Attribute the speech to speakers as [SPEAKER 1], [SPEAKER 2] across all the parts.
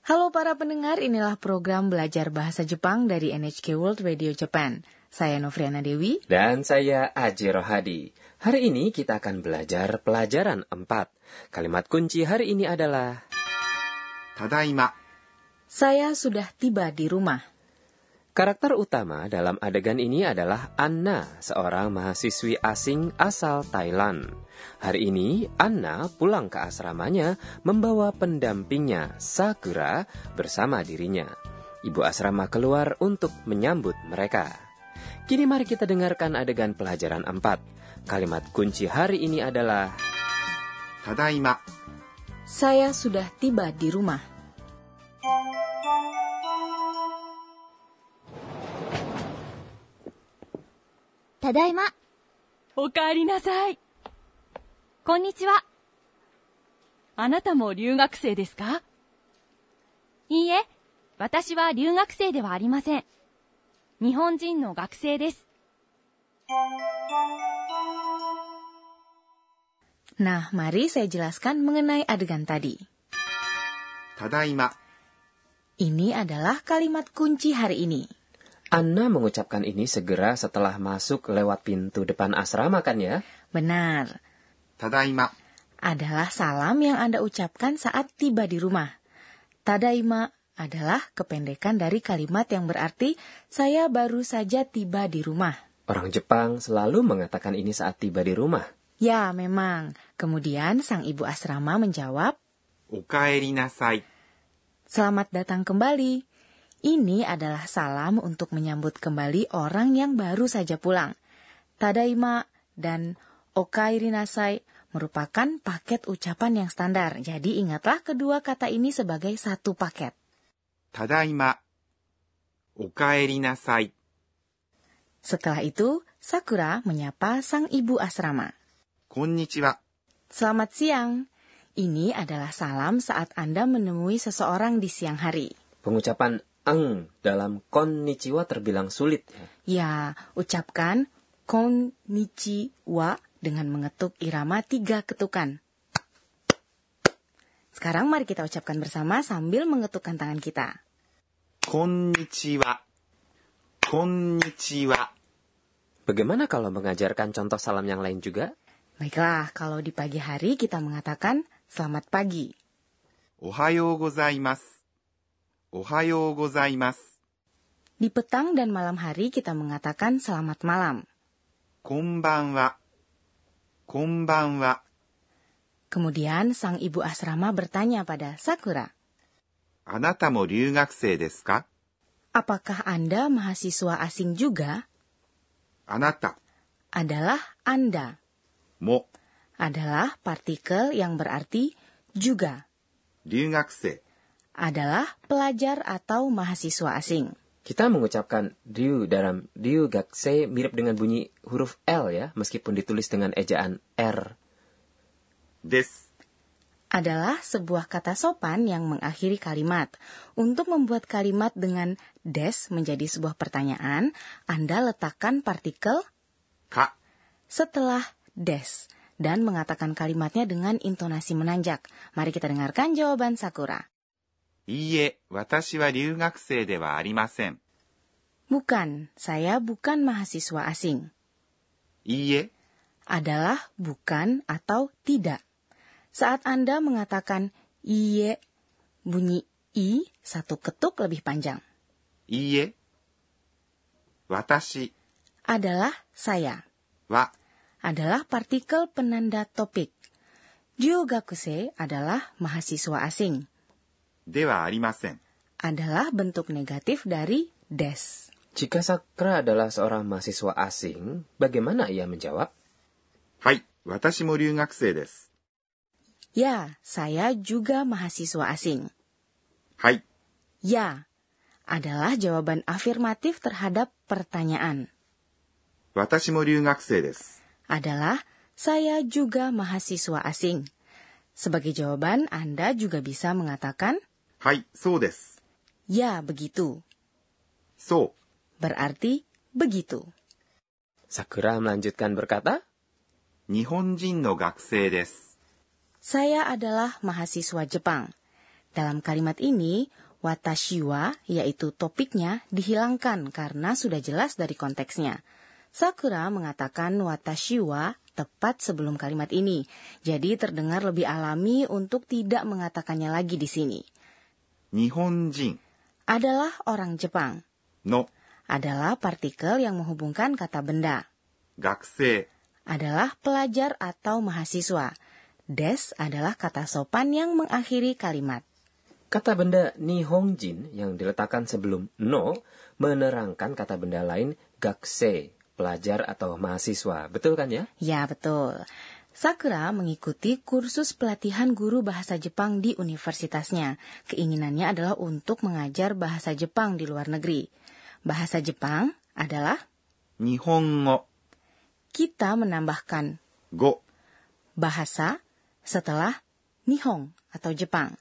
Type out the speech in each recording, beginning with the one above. [SPEAKER 1] Halo para pendengar, inilah program belajar bahasa Jepang dari NHK World Radio Japan. Saya Novriana Dewi.
[SPEAKER 2] Dan saya Aji Rohadi. Hari ini kita akan belajar pelajaran 4. Kalimat kunci hari ini adalah
[SPEAKER 3] ただいま、
[SPEAKER 1] Saya sudah tiba di rumah.
[SPEAKER 2] Karakter utama dalam adegan ini adalah Anna, seorang mahasiswi asing asal Thailand. Hari ini, Anna pulang ke asramanya membawa pendampingnya, Sakura, bersama dirinya. Ibu asrama keluar untuk menyambut mereka. Kini mari kita dengarkan adegan pelajaran 4. Kalimat kunci hari ini adalah
[SPEAKER 3] ただいま、
[SPEAKER 1] Saya sudah tiba di rumah.
[SPEAKER 4] ただいま。
[SPEAKER 5] お帰りなさい。こんにちは。あなたも留学生ですかいいえ、私は留学生ではありません。日本人の学生です。
[SPEAKER 1] Nah, mari saya jelaskan mengenai adegan tadi.
[SPEAKER 3] ただいま、
[SPEAKER 1] Ini adalah kalimat kunci hari ini.
[SPEAKER 2] Anna mengucapkan ini segera setelah masuk lewat pintu depan asrama kan ya?
[SPEAKER 1] Benar,
[SPEAKER 3] ただいま、
[SPEAKER 1] adalah salam yang Anda ucapkan saat tiba di rumah. Tadaima adalah kependekan dari kalimat yang berarti saya baru saja tiba di rumah.
[SPEAKER 2] Orang Jepang selalu mengatakan ini saat tiba di rumah.
[SPEAKER 1] Ya, memang. Kemudian sang ibu asrama menjawab,
[SPEAKER 3] おかえりなさい、
[SPEAKER 1] Selamat datang kembali. Ini adalah salam untuk menyambut kembali orang yang baru saja pulang. Tadaima dan okairi nasai merupakan paket ucapan yang standar. Jadi ingatlah kedua kata ini sebagai satu paket.
[SPEAKER 3] ただいま、おかえりなさい、
[SPEAKER 1] Setelah itu, Sakura menyapa sang ibu asrama.
[SPEAKER 3] こんにちは、
[SPEAKER 1] Selamat siang. Ini adalah salam saat Anda menemui seseorang di siang hari.
[SPEAKER 2] Pengucapan eng dalam konnichiwa terbilang sulit. ya.
[SPEAKER 1] Ya, ucapkan konnichiwa dengan mengetuk irama tiga ketukan. Sekarang mari kita ucapkan bersama sambil mengetukkan tangan kita.
[SPEAKER 3] こんにちは、こんにちは、
[SPEAKER 2] Bagaimana kalau mengajarkan contoh salam yang lain juga?
[SPEAKER 1] Baiklah, kalau di pagi hari kita mengatakan selamat pagi.
[SPEAKER 3] おはようございます。おはようございます。
[SPEAKER 1] Di petang dan malam hari kita mengatakan selamat malam.
[SPEAKER 3] こんばんは、こんばんは、
[SPEAKER 1] Kemudian sang ibu asrama bertanya pada Sakura,
[SPEAKER 3] あなたも留学生ですか
[SPEAKER 1] apakah Anda mahasiswa asing juga?
[SPEAKER 3] あなた
[SPEAKER 1] Adalah Anda,
[SPEAKER 3] も
[SPEAKER 1] adalah partikel yang berarti juga,
[SPEAKER 3] 留学生、
[SPEAKER 1] adalah pelajar atau mahasiswa asing.
[SPEAKER 2] Kita mengucapkan ryu dalam ryu gakse mirip dengan bunyi huruf L ya, meskipun ditulis dengan ejaan R.
[SPEAKER 3] です。
[SPEAKER 1] Adalah sebuah kata sopan yang mengakhiri kalimat. Untuk membuat kalimat dengan des menjadi sebuah pertanyaan, Anda letakkan partikel
[SPEAKER 3] か、
[SPEAKER 1] setelah des dan mengatakan kalimatnya dengan intonasi menanjak. Mari kita dengarkan jawaban Sakura.
[SPEAKER 3] いいえ、私は留学生ではありません。
[SPEAKER 1] Bukan, saya bukan mahasiswa asing.
[SPEAKER 3] いいえ、
[SPEAKER 1] Adalah bukan atau tidak. Saat Anda mengatakan iye, bunyi i satu ketuk lebih panjang.
[SPEAKER 3] いいえ、私
[SPEAKER 1] Adalah saya.
[SPEAKER 3] は
[SPEAKER 1] Adalah partikel penanda topik. Jugakuse adalah mahasiswa asing.
[SPEAKER 3] ではありません。
[SPEAKER 1] Adalah bentuk negatif dari des.
[SPEAKER 2] Jika Sakura adalah seorang mahasiswa asing, bagaimana ia menjawab?
[SPEAKER 3] はい、私も留学生です。
[SPEAKER 1] Ya, saya juga mahasiswa asing.
[SPEAKER 3] はい、
[SPEAKER 1] Ya adalah jawaban afirmatif terhadap pertanyaan.
[SPEAKER 3] 私も留学生です。
[SPEAKER 1] Adalah saya juga mahasiswa asing. Sebagai jawaban, Anda juga bisa mengatakan
[SPEAKER 3] はい、そうです。
[SPEAKER 1] ya begitu.
[SPEAKER 3] そ
[SPEAKER 1] Berarti begitu.
[SPEAKER 2] Sakura melanjutkan berkata,
[SPEAKER 3] う、日本人の学生です。
[SPEAKER 1] Saya adalah mahasiswa Jepang. Dalam kalimat ini, watashi wa yaitu topiknya dihilangkan karena sudah jelas dari konteksnya. Sakura mengatakan watashi wa tepat sebelum kalimat ini. Jadi terdengar lebih alami untuk tidak mengatakannya lagi di sini.
[SPEAKER 3] 日本人
[SPEAKER 1] Adalah orang Jepang
[SPEAKER 3] の
[SPEAKER 1] adalah partikel yang menghubungkan kata benda.
[SPEAKER 3] 学生
[SPEAKER 1] Adalah pelajar atau mahasiswa. Des adalah kata sopan yang mengakhiri kalimat.
[SPEAKER 2] Kata benda Nihonjin yang diletakkan sebelum no menerangkan kata benda lain gakse, pelajar atau mahasiswa. Betul kan ya?
[SPEAKER 1] Ya, betul. Sakura mengikuti kursus pelatihan guru bahasa Jepang di universitasnya. Keinginannya adalah untuk mengajar bahasa Jepang di luar negeri. Bahasa Jepang adalah
[SPEAKER 3] 日本語
[SPEAKER 1] kita menambahkan
[SPEAKER 3] 語
[SPEAKER 1] bahasa setelah Nihong atau Jepang.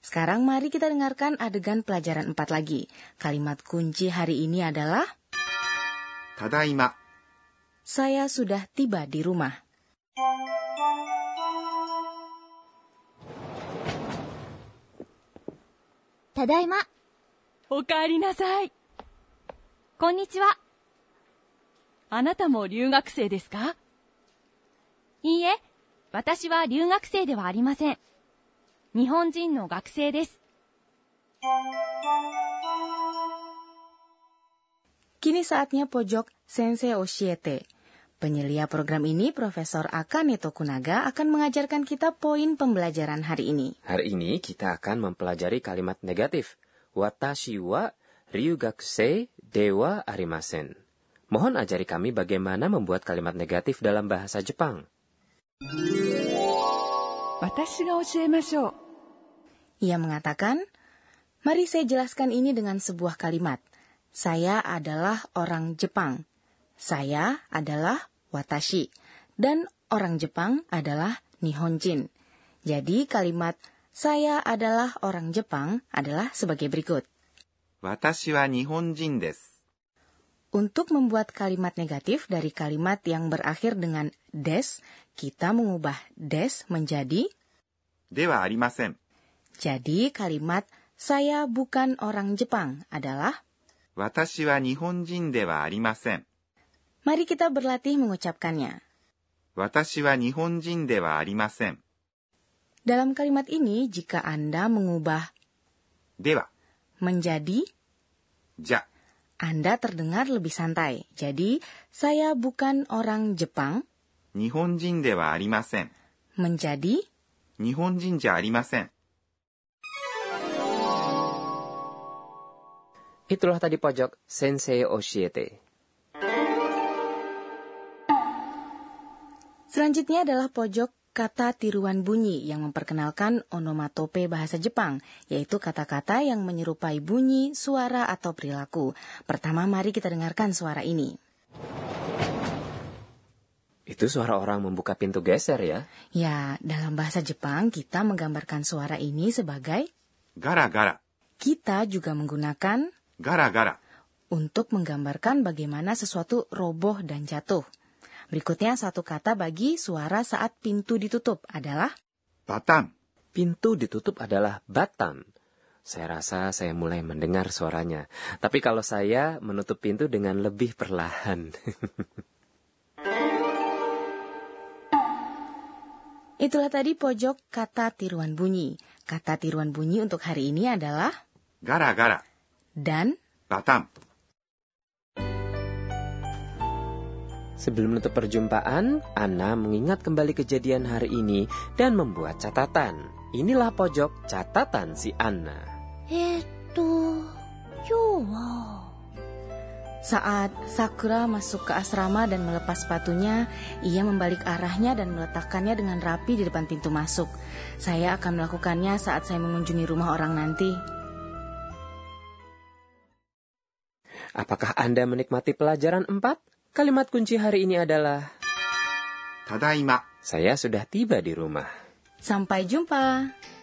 [SPEAKER 1] Sekarang mari kita dengarkan adegan pelajaran 4 lagi. Kalimat kunci hari ini adalah
[SPEAKER 3] ただいま
[SPEAKER 1] saya sudah tiba di rumah.
[SPEAKER 4] 「ただいま」
[SPEAKER 5] おかえりなさい。こんにちは。あなたも留学生ですかいいえ、私は留学生ではありません。日本人の学生です。
[SPEAKER 1] Kini saatnya pojok Sensei Oshiete. Penyelia program ini, Profesor Akane Tokunaga akan mengajarkan kita poin pembelajaran hari ini.
[SPEAKER 2] Hari ini kita akan mempelajari kalimat negatif. Watashi wa ryugakuse dewa arimasen. Mohon ajari kami bagaimana membuat kalimat negatif dalam bahasa Jepang.
[SPEAKER 6] 私が教えましょう
[SPEAKER 1] Ia mengatakan, Mari saya jelaskan ini dengan sebuah kalimat. Saya adalah orang Jepang. Saya adalah watashi. Dan orang Jepang adalah nihonjin. Jadi kalimat saya adalah orang Jepang adalah sebagai berikut.
[SPEAKER 3] 私は日本人です
[SPEAKER 1] Untuk membuat kalimat negatif dari kalimat yang berakhir dengan des, kita mengubah des menjadi
[SPEAKER 3] ではありません
[SPEAKER 1] jadi kalimat saya bukan orang Jepang adalah
[SPEAKER 3] 私は日本人ではありません
[SPEAKER 1] mari kita berlatih mengucapkannya.
[SPEAKER 3] 私は日本人ではありません
[SPEAKER 1] Dalam kalimat ini jika Anda mengubah
[SPEAKER 3] では
[SPEAKER 1] menjadi
[SPEAKER 3] じゃ
[SPEAKER 1] Anda terdengar lebih santai. Jadi saya bukan orang Jepang
[SPEAKER 3] 日本人ではありません
[SPEAKER 1] menjadi
[SPEAKER 3] 日本人じゃありません
[SPEAKER 2] Itulah tadi pojok Sensei Oshiete.
[SPEAKER 1] Selanjutnya adalah pojok kata tiruan bunyi yang memperkenalkan onomatope bahasa Jepang, yaitu kata-kata yang menyerupai bunyi, suara, atau perilaku. Pertama, mari kita dengarkan suara ini.
[SPEAKER 2] Itu suara orang membuka pintu geser ya.
[SPEAKER 1] Ya, dalam bahasa Jepang kita menggambarkan suara ini sebagai
[SPEAKER 3] ガラガラ
[SPEAKER 1] kita juga menggunakan
[SPEAKER 3] ガラガラ
[SPEAKER 1] untuk menggambarkan bagaimana sesuatu roboh dan jatuh. Berikutnya satu kata bagi suara saat pintu ditutup adalah
[SPEAKER 3] バタン
[SPEAKER 2] Pintu ditutup adalah batan. Saya rasa saya mulai mendengar suaranya. Tapi kalau saya menutup pintu dengan lebih perlahan.
[SPEAKER 1] Itulah tadi pojok kata tiruan bunyi. Kata tiruan bunyi untuk hari ini adalah
[SPEAKER 3] ガラガラ
[SPEAKER 1] dan.
[SPEAKER 3] バタン
[SPEAKER 2] Sebelum menutup perjumpaan, Anna mengingat kembali kejadian hari ini dan membuat catatan. Inilah pojok catatan si Anna.
[SPEAKER 4] えーっと今日は
[SPEAKER 1] Saat Sakura masuk ke asrama dan melepas sepatunya, ia membalik arahnya dan meletakkannya dengan rapi di depan pintu masuk. Saya akan melakukannya saat saya mengunjungi rumah orang nanti.
[SPEAKER 2] Apakah Anda menikmati pelajaran 4? Kalimat kunci hari ini adalah
[SPEAKER 3] ただいま
[SPEAKER 2] saya sudah tiba di rumah.
[SPEAKER 1] Sampai jumpa.